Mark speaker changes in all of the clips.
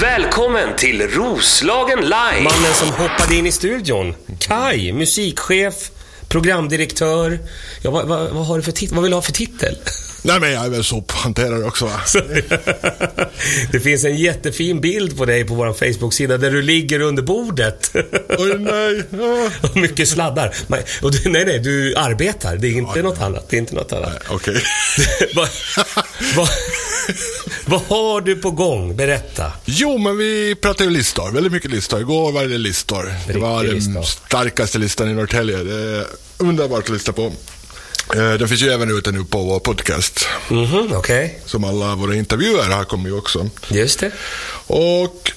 Speaker 1: Välkommen till Roslagen Live!
Speaker 2: Mannen som hoppade in i studion. Kai, musikchef, programdirektör. Ja, vad, vad, vad, har du för titel? vad vill du ha för titel?
Speaker 3: Nej, men jag är väl sophanterare också va?
Speaker 2: det finns en jättefin bild på dig på vår Facebook-sida där du ligger under bordet.
Speaker 3: Oj, nej.
Speaker 2: Och mycket sladdar. Nej, och du, nej, nej, du arbetar. Det är inte
Speaker 3: Ja,
Speaker 2: något annat. Det är inte något annat.
Speaker 3: Okej.
Speaker 2: vad, vad, vad har du på gång? Berätta.
Speaker 3: Jo, men vi pratade ju listor. Väldigt mycket listor. Igår var det listor. Det var
Speaker 2: Riktig lista.
Speaker 3: den starkaste listan i Norrtälje. Det är underbart att lyssna på. Eh, Den finns ju även ute nu på vår podcast.
Speaker 2: Mhm, okej.
Speaker 3: Som alla våra intervjuer har kommit ju också.
Speaker 2: Just det.
Speaker 3: Och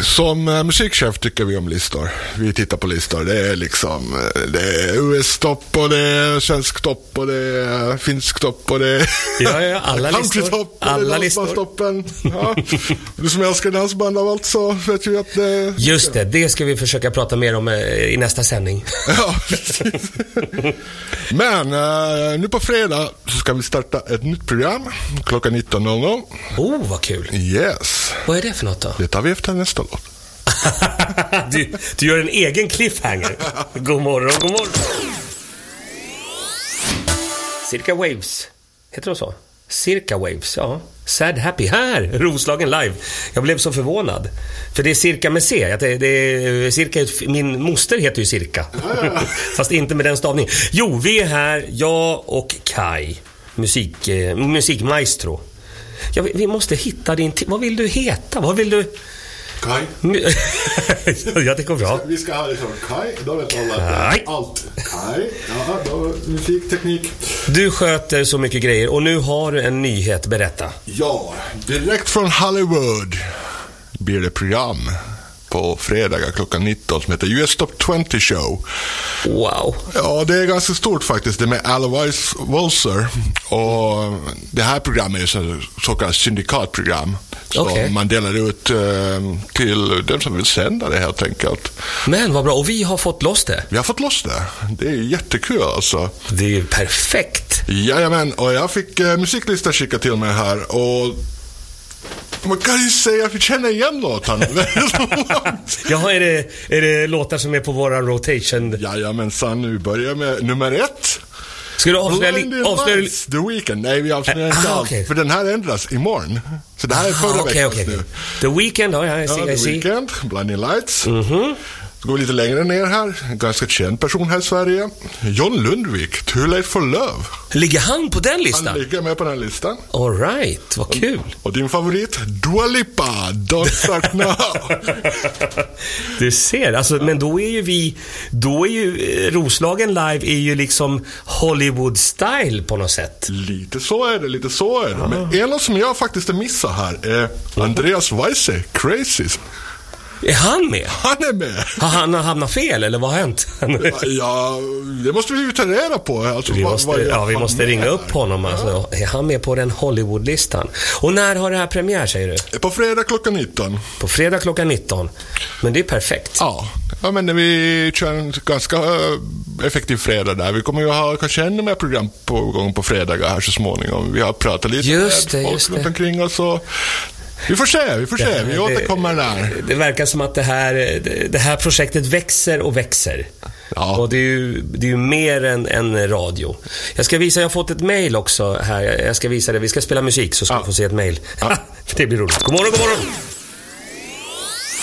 Speaker 3: som eh, musikchef tycker vi om listor. Vi tittar på listor. Det är liksom eh, det är US-topp och det är svensk topp och det är finsk topp och det är
Speaker 2: Ja, ja, alla listor.
Speaker 3: countrytopp och det är
Speaker 2: Alla listor.
Speaker 3: dansbandstoppen. Ja. Du som älskar dansband av allt så vet ju att eh, det...
Speaker 2: Just det, det ska vi försöka prata mer om eh, i nästa sändning.
Speaker 3: Ja, precis. Men eh, nu på fredag så ska vi starta ett nytt program klockan 19.00.
Speaker 2: Oh, vad kul.
Speaker 3: Yes,
Speaker 2: Vad är det för något då?
Speaker 3: det tar vi efter nästa låt.
Speaker 2: du, du gör en egen cliffhanger. God morgon, god morgon. Circa Waves. Heter de så? Circa Waves, ja. Sad Happy här, Roslagen live. Jag blev så förvånad. För det är Cirka med C. Att det, det är, cirka, är ett f- min moster heter ju Cirka. Fast inte med den stavningen. Jo, vi är här, jag och Kai. Musik, eh, musikmaestro. Ja, vi, vi måste hitta din... ti- Vad vill du heta? Vad vill du...
Speaker 3: Kaj,
Speaker 2: ja, det går bra.
Speaker 3: vi ska härifrån. Kaj, då vet alla
Speaker 2: Kaj.
Speaker 3: allt. Kaj, ja, då, musik, teknik.
Speaker 2: Du sköter så mycket grejer och nu har du en nyhet. Berätta.
Speaker 3: Ja, direkt från Hollywood blir det program på fredagar klockan 19 som heter US Top 20 Show.
Speaker 2: Wow.
Speaker 3: Ja, det är ganska stort faktiskt. Det är med Alois Wolser. Och det här programmet är ju så, så kallat syndikatprogram. Som
Speaker 2: Okej.
Speaker 3: man delar ut eh, till den som vill sända det helt enkelt.
Speaker 2: Men vad bra. Och vi har fått loss det.
Speaker 3: Vi har fått loss det. Det är ju jättekul alltså.
Speaker 2: Det är ju perfekt.
Speaker 3: Jajamän, och jag fick eh, musiklistan skickad till mig här. Och man kan ju säga att vi känner igen låtarna väldigt långt.
Speaker 2: Jaha, är det, är det låtar som är på våran rotation?
Speaker 3: Jajamensan, nu börjar jag med nummer ett.
Speaker 2: Ska du avslöja... li-
Speaker 3: Blinding
Speaker 2: avslöja
Speaker 3: Lights, The Weeknd. Nej, vi avslöjar
Speaker 2: Eh,
Speaker 3: inte
Speaker 2: ah,
Speaker 3: allt.
Speaker 2: okej.
Speaker 3: För den här ändras imorgon. Så det här är förra
Speaker 2: Ah, Okej,
Speaker 3: veckans
Speaker 2: okej.
Speaker 3: nu.
Speaker 2: The Weeknd, ja, ja, I
Speaker 3: Ja,
Speaker 2: see, I
Speaker 3: The
Speaker 2: see.
Speaker 3: Weeknd, Blinding Lights.
Speaker 2: Mhm.
Speaker 3: Så går vi lite längre ner här. En ganska känd person här i Sverige. John Lundvik, Too Late For Love.
Speaker 2: Ligger han på den
Speaker 3: Han
Speaker 2: listan?
Speaker 3: ligger med på den här listan.
Speaker 2: All right, vad kul.
Speaker 3: Och din favorit, Dua Lipa, Don't Start Now.
Speaker 2: Du ser, alltså, men då är ju vi... Då är ju eh, Roslagen live är ju liksom Hollywood-style på något sätt.
Speaker 3: Lite så är det, lite så är det.
Speaker 2: Ah.
Speaker 3: Men en låt som jag faktiskt missar här är Andreas Weise, Crazies.
Speaker 2: Är han med?
Speaker 3: Han är med!
Speaker 2: Har han hamnat fel eller vad har hänt?
Speaker 3: Ja, det måste vi ju ta reda på. Alltså,
Speaker 2: Vi
Speaker 3: vad- vad
Speaker 2: måste,
Speaker 3: gör
Speaker 2: ja, vi
Speaker 3: han
Speaker 2: måste
Speaker 3: med
Speaker 2: ringa
Speaker 3: här?
Speaker 2: upp honom. Alltså. Är han med på den Hollywoodlistan? Och när har det här premiär säger du?
Speaker 3: På fredag klockan 19.
Speaker 2: På fredag klockan 19. Men det är perfekt.
Speaker 3: Ja. ja, men vi kör en ganska eh, effektiv fredag där. Vi kommer ju ha kanske ännu mer program på gång på fredagar här så småningom. Vi har pratat lite
Speaker 2: Just
Speaker 3: med
Speaker 2: det,
Speaker 3: folk
Speaker 2: just
Speaker 3: runt
Speaker 2: det.
Speaker 3: omkring oss. Och vi får se, vi får se. Eh, Vi återkommer där.
Speaker 2: Det verkar som att det här, det här projektet växer och växer.
Speaker 3: Ja.
Speaker 2: Och det är ju, det är ju mer än, än radio. Jag ska visa, jag har fått ett mail också här. Jag ska visa det. Vi ska spela musik så ska du få se ett mail. det blir roligt. God morgon, god morgon!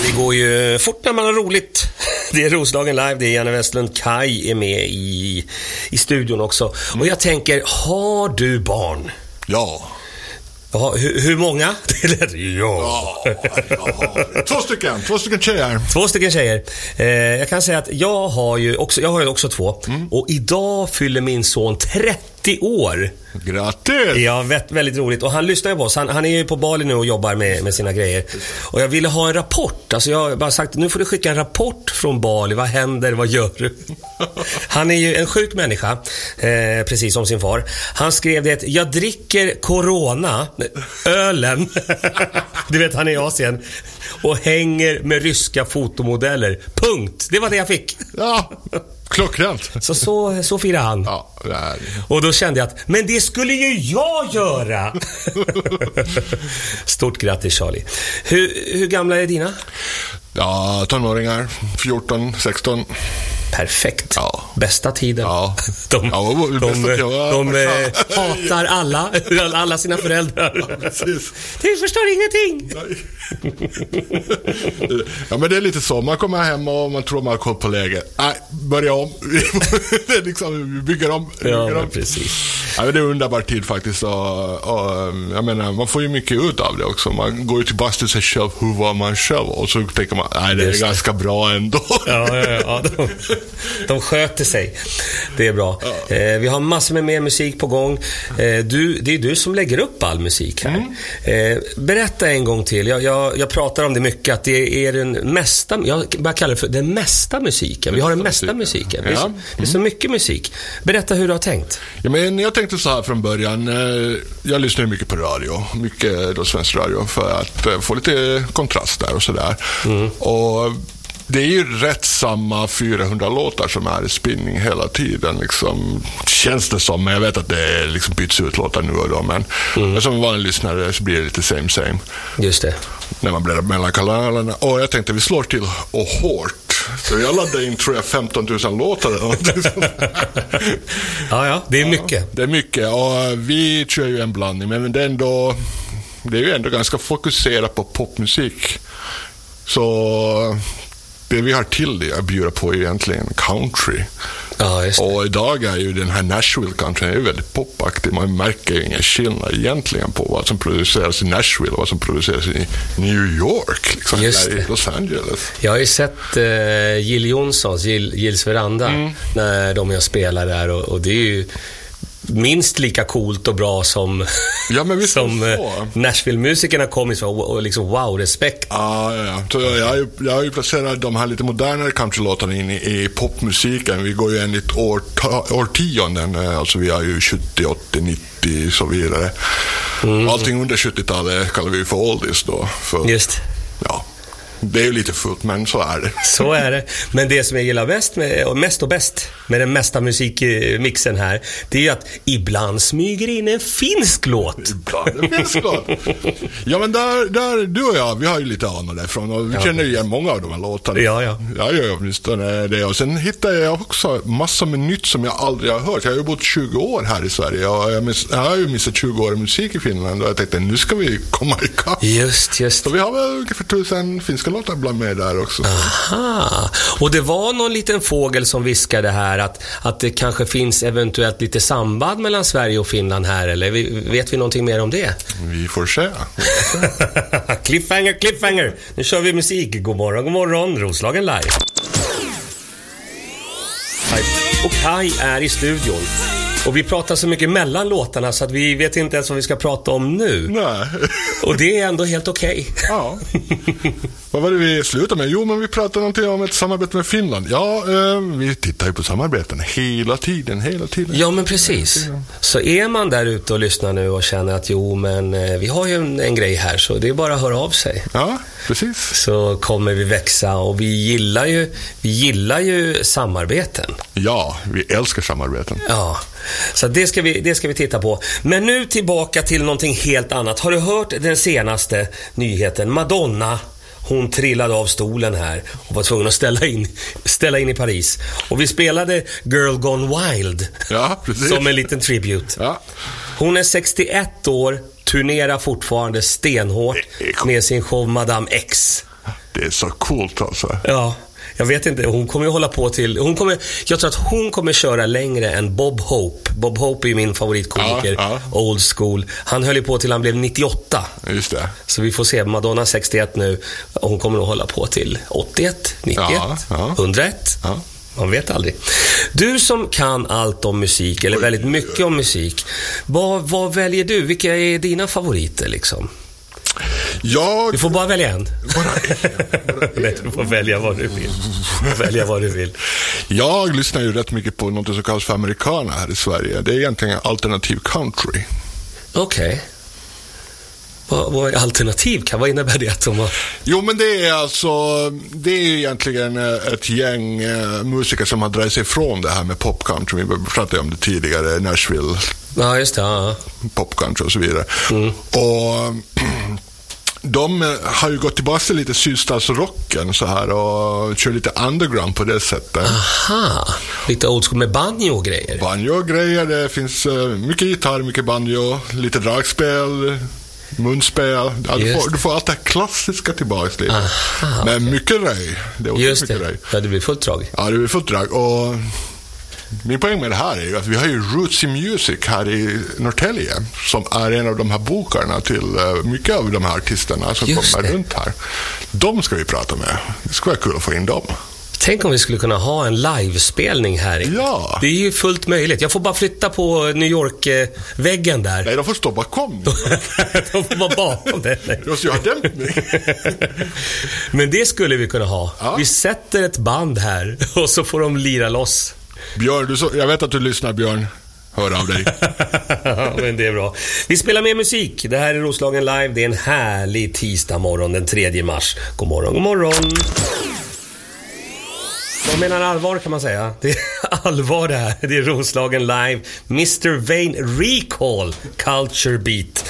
Speaker 2: Det går ju fort när man har roligt. Det är Roslagen live, det är Janne Westlund. Kai är med i, i studion också. Och jag tänker, har du barn?
Speaker 3: Ja.
Speaker 2: Ja, hur, hur många? Det lät,
Speaker 3: Ja, ja. Två stycken, två stycken tjejer.
Speaker 2: Två stycken tjejer. Eh, jag kan säga att jag har ju också, jag har ju också två. Och idag fyller min son 30 år.
Speaker 3: Grattis!
Speaker 2: Ja, vä- väldigt roligt. Och han lyssnar ju på oss. Han, han är ju på Bali nu och jobbar med, med sina grejer. Och jag ville ha en rapport. Alltså jag har bara sagt, nu får du skicka en rapport från Bali. Vad händer? Vad gör du? Han är ju en sjuk människa, eh, precis som sin far. Han skrev det, jag dricker Corona, ölen. Du vet, han är i Asien. Och hänger med ryska fotomodeller. Punkt. Det var det jag fick.
Speaker 3: Ja, Klockrent.
Speaker 2: Så, så, så firar han.
Speaker 3: Ja, det är
Speaker 2: Och då kände jag att, men det skulle ju jag göra! Stort grattis Charlie. Hur, hur gamla är dina?
Speaker 3: Ja, tonåringar. 14, 16.
Speaker 2: Perfekt.
Speaker 3: Ja.
Speaker 2: Bästa tiden.
Speaker 3: Ja.
Speaker 2: De,
Speaker 3: Ja, det var det
Speaker 2: de,
Speaker 3: bästa
Speaker 2: de,
Speaker 3: jag var.
Speaker 2: eh, hatar alla, alla sina föräldrar.
Speaker 3: Precis.
Speaker 2: Du förstår ingenting!
Speaker 3: Ja, men det är lite så. Man kommer hem och man tror man har koll på läget. Nej, börja om. det är liksom, vi bygger om.
Speaker 2: Ja,
Speaker 3: bygger
Speaker 2: men
Speaker 3: om.
Speaker 2: precis.
Speaker 3: Ja, men det är en underbar tid faktiskt. Och, och, um, jag menar, man får ju mycket ut av det också. Man går ju tillbaka till sig själv, hur var man själv? Och så tänker man, nej det är
Speaker 2: Just det.
Speaker 3: ganska bra ändå.
Speaker 2: Ja, ja, ja. De, de sköter sig. Det är bra. Eh, vi har massor med mer musik på gång. Eh, du, det är du som lägger upp all musik här. Eh, berätta en gång till. Jag, jag, jag pratar om det mycket, att det är den mesta, jag börjar kalla det för den mesta musiken. Vi har den mesta musiken. Det är,
Speaker 3: Ja.
Speaker 2: så, det är så mycket musik. Berätta hur du har tänkt.
Speaker 3: Ja, men jag tänkte så här från början. eh, Jag lyssnar ju mycket på radio, mycket då svensk radio, för att eh, få lite kontrast där och sådär. Och det är ju rätt samma 400 låtar som är i spinning hela tiden. Liksom, känns det som, men jag vet att det liksom byts ut låtar nu och då. Men, men som en vanlig lyssnare så blir det lite same same
Speaker 2: Just det.
Speaker 3: när man bläddrar mellan kanalerna. Och jag tänkte vi slår till och hårt. Så jag laddade in tror jag 15 000 låtar eller någonting sånt där.
Speaker 2: Ja, ja. Det är mycket.
Speaker 3: Det är mycket och eh, vi kör ju en blandning men det är ändå, det är ju ändå ganska fokuserat på popmusik. Så eh, det vi har till det att bjuda på är egentligen country.
Speaker 2: Ja, just det.
Speaker 3: Och idag är ju den här Nashville countryn är ju väldigt popaktig. Man märker ju ingen skillnad egentligen på vad som produceras i Nashville och vad som produceras i New York. Liksom,
Speaker 2: Just
Speaker 3: eller i
Speaker 2: det.
Speaker 3: Los Angeles.
Speaker 2: Jag har ju sett eh, Jill Johnsons, Jill, Jills veranda,
Speaker 3: Mm.
Speaker 2: när de och jag spelar där och, och det är ju minst lika coolt och bra som,
Speaker 3: Ja, men visst är det
Speaker 2: som
Speaker 3: så.
Speaker 2: eh, Nashville-musikerna kom ifrån. Och, och liksom wow, respekt.
Speaker 3: Ja, ja, ja. Så jag, har ju, jag har ju placerat de här lite modernare countrylåtarna in i, i popmusiken. Vi går ju enligt årta, årtionden, eh, alltså vi har ju 70, 80, 90 och så vidare. Allting under 70-talet kallar vi ju för oldies då. För,
Speaker 2: Just.
Speaker 3: Ja, det är ju lite fullt, men så är det.
Speaker 2: Så är det. Men det som jag gillar mest, med, och mest och bäst med den mesta musikmixen här, det är ju att ibland smyger in en finsk låt.
Speaker 3: Ibland är det finns gott. Ja, men där, där, du och jag, vi har ju lite anor därifrån och vi känner ju igen många av de här låtarna.
Speaker 2: Ja, ja.
Speaker 3: Jag gör ju åtminstone det. Och sen hittade jag också massor med nytt som jag aldrig har hört. Jag har ju bott 20 år här i Sverige och jag, miss, jag har ju missat 20 år i musik i Finland och jag tänkte nu ska vi komma ikapp.
Speaker 2: Just, just.
Speaker 3: Så vi har väl ungefär tusen finska låtar bland med där också.
Speaker 2: Aha. Och det var någon liten fågel som viskade här att, att det kanske finns eventuellt lite samband mellan Sverige och Finland här, eller Vi- vet vi någonting mer om det?
Speaker 3: Vi får se.
Speaker 2: cliffhanger, cliffhanger! Nu kör vi musik. God morgon, god morgon, Roslagen live. Kaj. Och Kai är i studion. Och vi pratar så mycket mellan låtarna så att vi vet inte ens vad vi ska prata om nu.
Speaker 3: Nej.
Speaker 2: Och det är ändå helt okej.
Speaker 3: Ja. Vad var det vi slutade med? Jo, men vi pratade någonting om ett samarbete med Finland. Ja, eh, vi tittar ju på samarbeten hela tiden, hela tiden.
Speaker 2: Ja, men precis. Så är man där ute och lyssnar nu och känner att jo, men eh, vi har ju en, en grej här, så det är bara att höra av sig.
Speaker 3: Ja, precis.
Speaker 2: Så kommer vi växa och vi gillar ju, vi gillar ju samarbeten.
Speaker 3: Ja, vi älskar samarbeten.
Speaker 2: Ja, så det ska, vi, det ska vi titta på. Men nu tillbaka till någonting helt annat. Har du hört den senaste nyheten? Madonna, hon trillade av stolen här och var tvungen att ställa in, ställa in i Paris. Och vi spelade Girl Gone Wild
Speaker 3: Ja, precis.
Speaker 2: som en liten tribute.
Speaker 3: Ja.
Speaker 2: Hon är 61 år, turnerar fortfarande stenhårt
Speaker 3: Det är coolt.
Speaker 2: med sin show Madame X.
Speaker 3: Det är så coolt alltså.
Speaker 2: Ja, jag vet inte. Hon kommer ju hålla på till... Hon kommer, jag tror att hon kommer köra längre än Bob Hope. Bob Hope är ju min favoritkomiker.
Speaker 3: Ja,
Speaker 2: Old school. Han höll ju på till han blev 98.
Speaker 3: Just det.
Speaker 2: Så vi får se. Madonna 61 nu. Hon kommer nog hålla på till 81, 91,
Speaker 3: Ja, ja.
Speaker 2: 101.
Speaker 3: Ja.
Speaker 2: Man vet aldrig. Du som kan allt om musik, eller väldigt mycket om musik. Vad, vad väljer du? Vilka är dina favoriter liksom?
Speaker 3: Jag...
Speaker 2: Du får bara välja en.
Speaker 3: Bara
Speaker 2: Nej, du får välja vad du vill. Du får välja vad du vill.
Speaker 3: Jag lyssnar ju rätt mycket på något som kallas för americana här i Sverige. Det är egentligen alternativ country.
Speaker 2: Okej. Vad, vad är alternativ? Kan, vad innebär det? Att de har,
Speaker 3: Jo, men det är alltså, det är ju egentligen eh, ett gäng eh, musiker som har dragit sig ifrån det här med pop country. Vi pratade om det tidigare, Nashville
Speaker 2: ja, just det. Ja,
Speaker 3: pop country och så vidare. Och de eh, har ju gått tillbaka till lite sydstatsrocken så här och kör lite underground på det
Speaker 2: ja.
Speaker 3: sättet.
Speaker 2: Aha, lite old school med banjo och grejer.
Speaker 3: Banjo och grejer, det finns eh, mycket gitarr, mycket banjo, lite dragspel, munspel. Ja, du,
Speaker 2: Just
Speaker 3: får,
Speaker 2: det.
Speaker 3: du får allt det här klassiska tillbaks lite.
Speaker 2: Aha,
Speaker 3: Men mycket röj. Det är
Speaker 2: Just
Speaker 3: otroligt mycket
Speaker 2: det.
Speaker 3: röj.
Speaker 2: Ja, det blir fullt drag.
Speaker 3: Ja, det är fullt drag. Och min poäng med det här är ju att vi har ju Rootsy Music här i Norrtälje som är en av de här bokarna till eh, mycket av de här artisterna som
Speaker 2: Just
Speaker 3: kommer
Speaker 2: det.
Speaker 3: runt här. De ska vi prata med. Det skulle vara kul att få in dem.
Speaker 2: Tänk om vi skulle kunna ha en livespelning här. inne.
Speaker 3: Ja.
Speaker 2: Det är ju fullt möjligt. Jag får bara flytta på New York-väggen där.
Speaker 3: Nej, de får stå bakom.
Speaker 2: De får vara bakom det.
Speaker 3: Du måste ju ha dämpning.
Speaker 2: Men det skulle vi kunna ha.
Speaker 3: Ja.
Speaker 2: Vi sätter ett band här och så får de lira loss.
Speaker 3: Björn, du så, jag vet att du lyssnar Björn. Hör av dig.
Speaker 2: Ja, Men det är bra. Vi spelar mer musik. Det här är Roslagen Live. Det är en härlig tisdag morgon den 3 mars. God morgon, god morgon. Jag menar allvar kan man säga. Det är allvar det här. Det är Roslagen Live. Mr Vain Recall Culture Beat.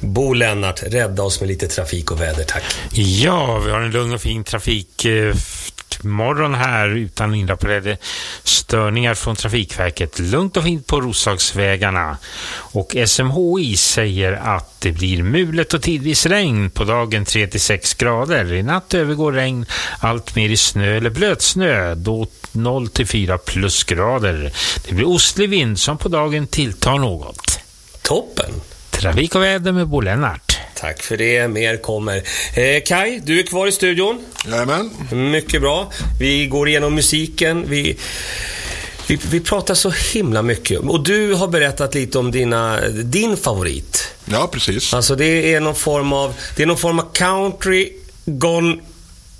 Speaker 2: Bo Lennart, rädda oss med lite trafik och väder, tack.
Speaker 4: Ja, vi har en lugn och fin trafikmorgon här utan inrapporterade störningar från Trafikverket. Lugnt och fint på Roslagsvägarna. Och SMHI säger att det blir mulet och tidvis regn på dagen 3-6 grader. I natt övergår regn allt mer i snö eller blötsnö, då 0-4 plusgrader. Det blir ostlig vind som på dagen tilltar något.
Speaker 2: Toppen!
Speaker 4: Trafik och väder med Bo Lennart.
Speaker 2: Tack för det, mer kommer. Eh, Kai, du är kvar i studion.
Speaker 3: Jajamän.
Speaker 2: Mycket bra. Vi går igenom musiken. Vi, vi, vi pratar så himla mycket. Och du har berättat lite om dina, din favorit.
Speaker 3: Ja, precis.
Speaker 2: Alltså det är någon form av, det är någon form av country gone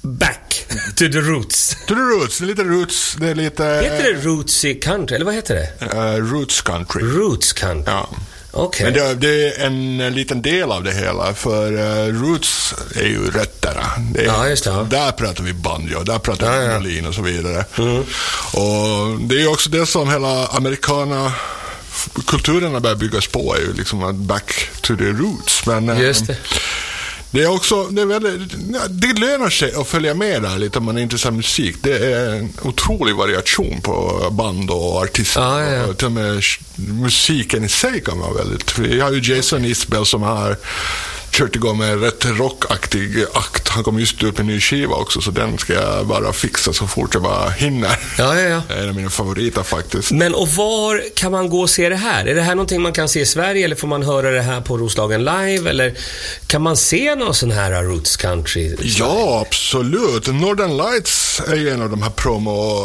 Speaker 2: back to the roots.
Speaker 3: Det är roots. Det är lite roots. Det är lite...
Speaker 2: Heter det rootsy country? Eller vad heter det?
Speaker 3: eh, roots country.
Speaker 2: Roots country?
Speaker 3: Ja.
Speaker 2: Okej.
Speaker 3: Men det, det är en eh, liten del av det hela, för eh, roots är ju rötterna. Det är,
Speaker 2: Ja, just det, ja.
Speaker 3: Där pratar vi banjo, där pratar
Speaker 2: Ja, Mm. ja.
Speaker 3: vi violin och så vidare. Och det är ju också det som hela amerikana f- kulturen har börjat byggas på, är ju liksom att back to the roots. Men, eh,
Speaker 2: Just det.
Speaker 3: det är också, det, är väldigt, ja, det lönar sig att följa med där lite om man är intresserad av musik. Det är en otrolig variation på band och artister.
Speaker 2: Ja, ja, ja.
Speaker 3: Och till och med sh- musiken i sig kan vara väldigt... Vi har ju Jason Isbell som har kört igång med en rätt rockaktig akt. Han kommer just ut med en ny skiva också, så den ska jag bara fixa så fort jag bara hinner.
Speaker 2: Ja, ja, ja.
Speaker 3: Det är en av mina favoriter faktiskt.
Speaker 2: Men och var kan man gå och se det här? Är det här någonting man kan se i Sverige eller får man höra det här på Roslagen live? Eller kan man se någon sån här Roots Country?
Speaker 3: Ja, absolut. Northern Lights är ju en av de här promo,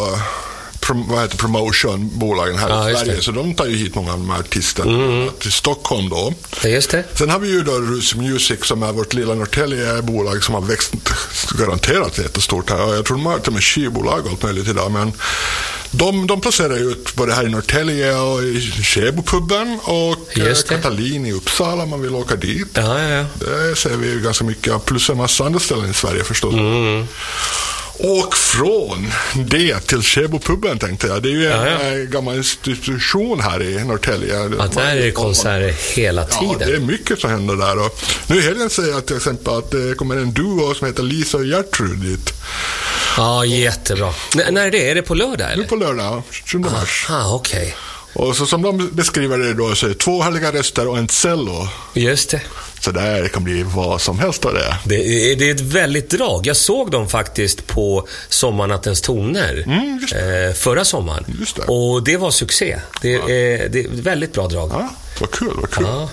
Speaker 3: prom, vad heter promotionbolagen här
Speaker 2: Ja,
Speaker 3: i
Speaker 2: just
Speaker 3: Sverige.
Speaker 2: det. Mm.
Speaker 3: Så de tar ju hit många av de här artisterna till Stockholm då.
Speaker 2: Ja, just det.
Speaker 3: Sen har vi ju då Roots Music som är vårt lilla Norrtälje bolag som har växt garanterat jättestort här. Och Jag tror de har till och med skivbolag och allt möjligt idag. Men de, de placerar ju ut både här i Norrtälje och i Tjäbopuben och eh,
Speaker 2: Just det.
Speaker 3: Katalin i Uppsala om man vill åka dit.
Speaker 2: Ja, ja, ja.
Speaker 3: Det ser vi ju ganska mycket av, plus en massa andra ställen i Sverige förstås.
Speaker 2: Mm.
Speaker 3: Och från det till Tjäbopuben tänkte jag. Det är ju en
Speaker 2: Ja, ja.
Speaker 3: eh, gammal institution här i Norrtälje.
Speaker 2: ja där är det konserter hela
Speaker 3: Ja, det är
Speaker 2: tiden.
Speaker 3: mycket som händer där. Och nu i helgen säger jag till exempel att det kommer en duo som heter Lisa och Gertrud dit.
Speaker 2: Ja, jättebra. N när är det? Är det på lördag
Speaker 3: Nu
Speaker 2: eller?
Speaker 3: på lördag, 7 mars.
Speaker 2: Ah, okej.
Speaker 3: Och så som de beskriver det då, så är det två härliga röster och en cello.
Speaker 2: Just det.
Speaker 3: Så där kan bli vad som helst av det.
Speaker 2: Det är, det är ett väldigt drag. Jag såg dem faktiskt på Sommarnattens toner
Speaker 3: Mm, just
Speaker 2: eh, förra sommaren.
Speaker 3: Just det.
Speaker 2: Och det var succé. Det, är, det är ett väldigt bra drag.
Speaker 3: Ja, vad kul, vad kul.
Speaker 2: Ja.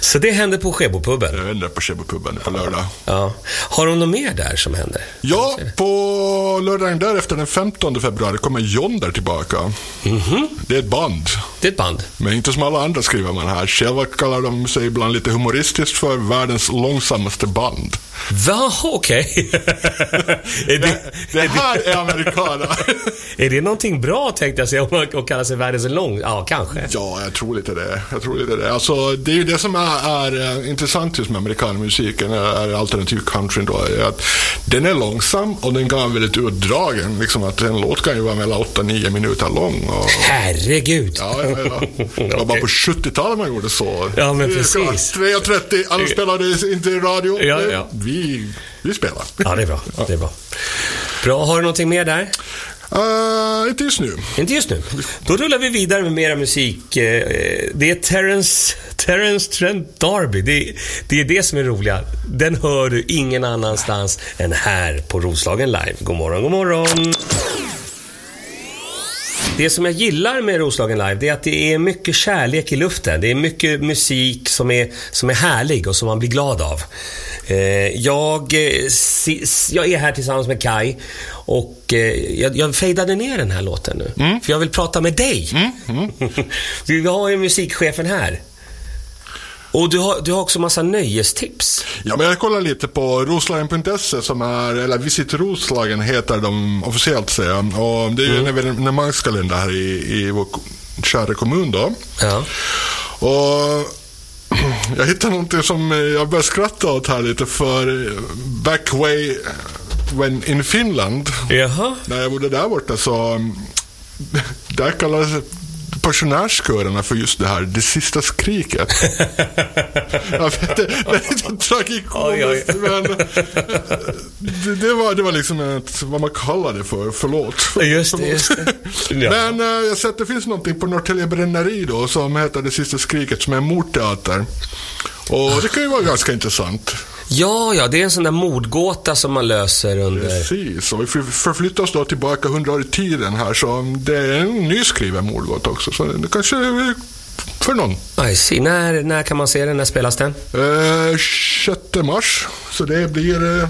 Speaker 2: Så det hände på Skebopuben.
Speaker 3: Jag vänder på Tjäbopuben på lördag.
Speaker 2: Ja. Har de något mer där som händer?
Speaker 3: Ja, på lördagen därefter den 15 februari kommer John där tillbaka. Det är ett band.
Speaker 2: Det är ett band.
Speaker 3: Men inte som alla andra skriver man här. Själva kallar de sig ibland lite humoristiskt för världens långsammaste band.
Speaker 2: Va, okej. är, det,
Speaker 3: Det här är amerikaner.
Speaker 2: är det någonting bra tänkte jag säga, om man- att kalla sig världens lång? Ja, kanske.
Speaker 3: ja, jag tror lite det. Jag tror vidare. Alltså, det är ju det som är, är eh, intressant just med amerikanmusiken, är, är alternativ countryn då, är att den är långsam och den kan vara väldigt utdragen. Liksom att en låt kan ju vara mellan 8-9 minuter lång. Och,
Speaker 2: Herregud!
Speaker 3: Ja, ja, ja. Det var bara på 70-talet man gjorde så.
Speaker 2: Ja, men
Speaker 3: Vi ska ha
Speaker 2: precis. Eh.
Speaker 3: 3.30, alla spelade inte i radio.
Speaker 2: Ja, ja.
Speaker 3: Vi, vi spelar.
Speaker 2: Ja, det är bra. Det är bra. Bra, har du någonting mer där?
Speaker 3: Eh, inte just nu.
Speaker 2: Inte just nu. Då rullar vi vidare med mera musik. Eh, eh, Det är Terrence, Terrence Trent D'Arby. Det, det är det som är roliga. Den hör du ingen annanstans än här på Roslagen Live. God morgon, god morgon. Det som jag gillar med Roslagen Live, det är att det är mycket kärlek i luften. Det är mycket musik som är, som är härlig och som man blir glad av. Eh, jag, eh, si- s- jag är här tillsammans med Kai och eh, jag, jag fejdade ner den här låten nu. För jag vill prata med dig. Vi har ju musikchefen här. Och du har, du har också massa nöjestips.
Speaker 3: Ja, men jag kollar lite på roslagen.se E som är, eller Visit Roslagen heter de officiellt säger jag. Och det är ju
Speaker 2: Mm.
Speaker 3: en evenemangskalender här i, i vår ko- kära kommun då.
Speaker 2: Ja.
Speaker 3: Och jag hittade någonting som jag började skratta åt här lite för back way when in Finland.
Speaker 2: Jaha.
Speaker 3: När jag bodde där borta så mm, där kallades pensionärskörerna för just det här, det sista skriket. jag vet inte, det är lite tragikomiskt
Speaker 2: Oj, oj.
Speaker 3: men eh, det, det, var, det var liksom ett, vad man kallar det för, förlåt.
Speaker 2: Just det, just det. Ja.
Speaker 3: Men eh, jag har sett att det finns någonting på Norrtälje Bränneri då som heter Det sista skriket som är en mordteater. Och det kan ju vara ganska intressant.
Speaker 2: ja, ja, det är en sån där mordgåta som man löser under...
Speaker 3: Precis, och vi för- förflyttar oss då tillbaka hundra år i tiden här så um, det är en nyskriven mordgåta också. Så det kanske är för någon.
Speaker 2: I see. När, när kan man se den? När spelas den?
Speaker 3: Eh, 6 mars, så det blir... Eh,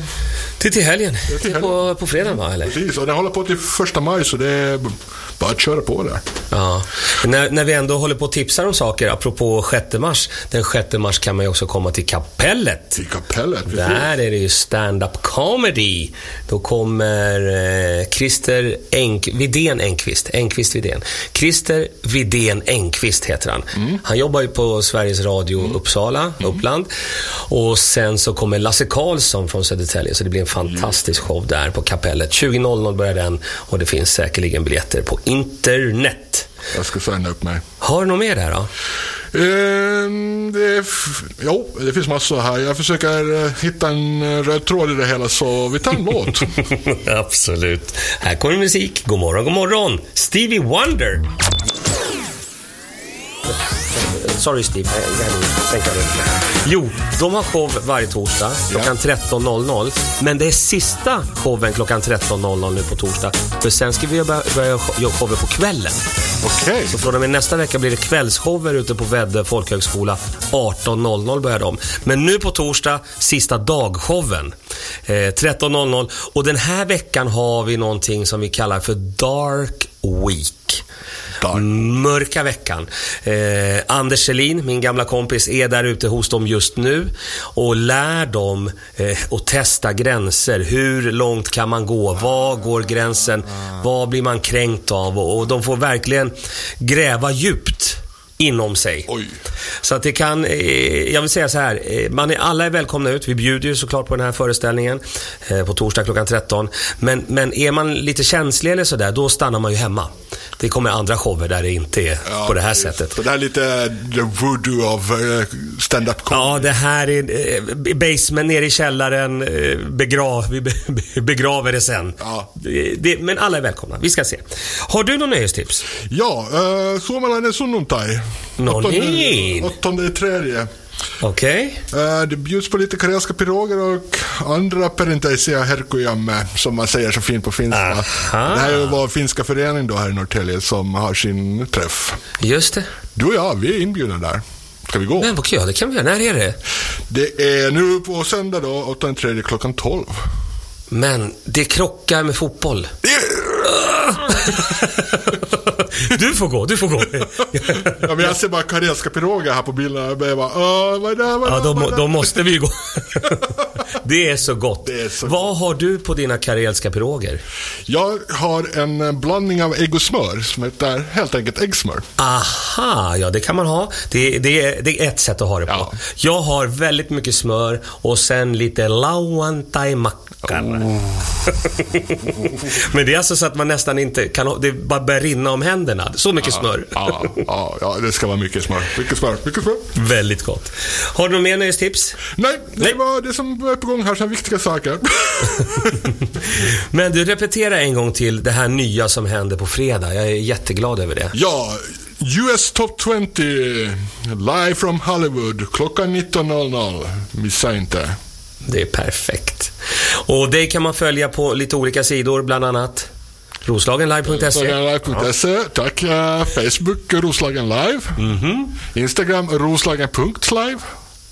Speaker 2: Till, till helgen.
Speaker 3: helgen.
Speaker 2: På, på fredag va, eller?
Speaker 3: precis, och den håller på till första maj så det är b- bara att köra på där.
Speaker 2: Ja. När, när vi ändå håller på och tipsar om saker, apropå 6 mars. Den 6 mars kan man ju också komma till kapellet.
Speaker 3: Till kapellet. precis.
Speaker 2: Där är det ju stand-up comedy. Då kommer eh, Christer Enk, Vidén Engqvist. Engqvist Vidén. Christer Vidén Engqvist heter han. Han jobbar ju på Sveriges Radio Uppsala, Uppland. Och sen så kommer Lasse Karlsson från Södertälje. Så det blir en fantastisk show där på kapellet. 20.00 börjar den och det finns säkerligen biljetter på internet.
Speaker 3: Jag ska signa upp mig.
Speaker 2: Har du något mer där då?
Speaker 3: Ehm, det är f- jo, det finns massor här. Jag försöker eh, hitta en eh, röd tråd i det hela så vi tar en låt.
Speaker 2: Absolut. Här kommer musik. God morgon, god morgon. Stevie Wonder. Sorry Steve, jag jag kan sänka det. Jo, de har show varje torsdag klockan 13.00. Men det är sista showen klockan 13.00 nu på torsdag. För sen ska vi börja- börja göra shower på kvällen.
Speaker 3: Okej.
Speaker 2: Så från och med nästa vecka blir det kvällsshower ute på Väddö folkhögskola. 18.00 börjar de. Men nu på torsdag, sista dagshowen. Eh, 13.00. Och den här veckan har vi någonting som vi kallar för Dark Week.
Speaker 3: Dark.
Speaker 2: Mörka veckan. Eh, Anders Selin, min gamla kompis, är där ute hos dem just nu och lär dem eh, att testa gränser. Hur långt kan man gå? Var går gränsen? Vad blir man kränkt av? Och, och de får verkligen gräva djupt inom sig.
Speaker 3: Oj.
Speaker 2: Så att det kan, eh, jag vill säga så här, eh, man är, alla är välkomna ut. Vi bjuder ju såklart på den här föreställningen eh, på torsdag klockan 13. Men, men är man lite känslig eller sådär, då stannar man ju hemma. Det kommer andra shower där det inte är
Speaker 3: Ja,
Speaker 2: på det här
Speaker 3: precis.
Speaker 2: sättet.
Speaker 3: Så det här är lite the voodoo av eh, stand-up comedy.
Speaker 2: Ja, det här är eh, basement nere i källaren. eh, Begrav, vi be- be- begraver det sen.
Speaker 3: Ja.
Speaker 2: Det, det, men alla är välkomna. Vi ska se. Har du något nöjestips?
Speaker 3: Ja, eh, Suomalainen sunnuntai.
Speaker 2: No
Speaker 3: Åttonde-
Speaker 2: niin.
Speaker 3: Åttonde i tredje.
Speaker 2: Okej.
Speaker 3: Eh, det bjuds på lite koreanska piroger och andra perinteisiä herkujamme, som man säger så fint på finska.
Speaker 2: Aha.
Speaker 3: Det här är vår finska förening då här i Norrtälje som har sin träff.
Speaker 2: Just det.
Speaker 3: Du och jag, vi är inbjudna där. Ska vi gå?
Speaker 2: Men vad kul, det kan vi göra. När är det?
Speaker 3: Det är nu på söndag då, 8.30 klockan 12.
Speaker 2: Men det krockar med fotboll. du får gå, du får gå.
Speaker 3: Ja, men jag ser bara karelska piroger här på bilderna. Jag börjar bara, "Åh, vad är det, vad är
Speaker 2: ja,
Speaker 3: det,
Speaker 2: då,
Speaker 3: vad
Speaker 2: må-
Speaker 3: är det?"
Speaker 2: då måste vi ju gå. Det är så gott.
Speaker 3: Det är så
Speaker 2: Vad har du på dina karelska piroger?
Speaker 3: Jag har en eh, blandning av ägg och smör som heter helt enkelt äggsmör.
Speaker 2: Aha, ja det kan man ha. Det, det, är- det är ett sätt att ha det på.
Speaker 3: Ja.
Speaker 2: Jag har väldigt mycket smör och sen lite lauantai-macka.
Speaker 3: Oh.
Speaker 2: Men det är alltså så att man nästan inte kan ha- Det bara börjar rinna om händerna. Så mycket smör.
Speaker 3: Ja, ja, ja, det ska vara mycket smör. Mycket smör, mycket smör.
Speaker 2: Väldigt gott. Har du något mer nöjestips?
Speaker 3: Nej, det
Speaker 2: Nej.
Speaker 3: var det som var på gång här, så här viktiga saker.
Speaker 2: Men du, repetera en gång till det här nya som händer på fredag. Jag är jätteglad över det.
Speaker 3: ja, US Top 20, live from Hollywood, klockan 19.00. Missa inte.
Speaker 2: Det är perfekt. Och det kan man följa på lite olika sidor, bland annat roslagenlive.se.
Speaker 3: Roslagenlive.se, tack. eh, Facebook, Roslagen Live. Instagram, roslagen.live.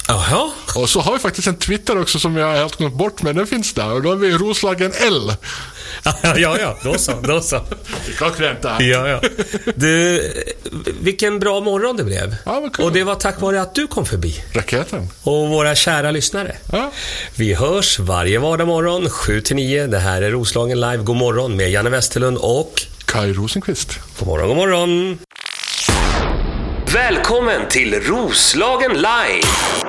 Speaker 2: Jaha,
Speaker 3: Och så har vi faktiskt en Twitter också som jag har helt glömt bort, men den finns där. Och då är vi Roslagen L.
Speaker 2: ja, ja, då så, då så.
Speaker 3: Det är klockrent det här.
Speaker 2: Ja, ja. Du, vilken bra morgon det blev.
Speaker 3: Ja, vad kul.
Speaker 2: Och det var tack vare att du kom förbi.
Speaker 3: Raketen.
Speaker 2: Och våra kära lyssnare.
Speaker 3: Ja.
Speaker 2: Vi hörs varje vardag morgon 7-9. Det här är Roslagen Live. God morgon med Janne Westerlund och
Speaker 3: Kai Rosenqvist.
Speaker 2: god morgon, god morgon.
Speaker 1: Välkommen till Roslagen Live!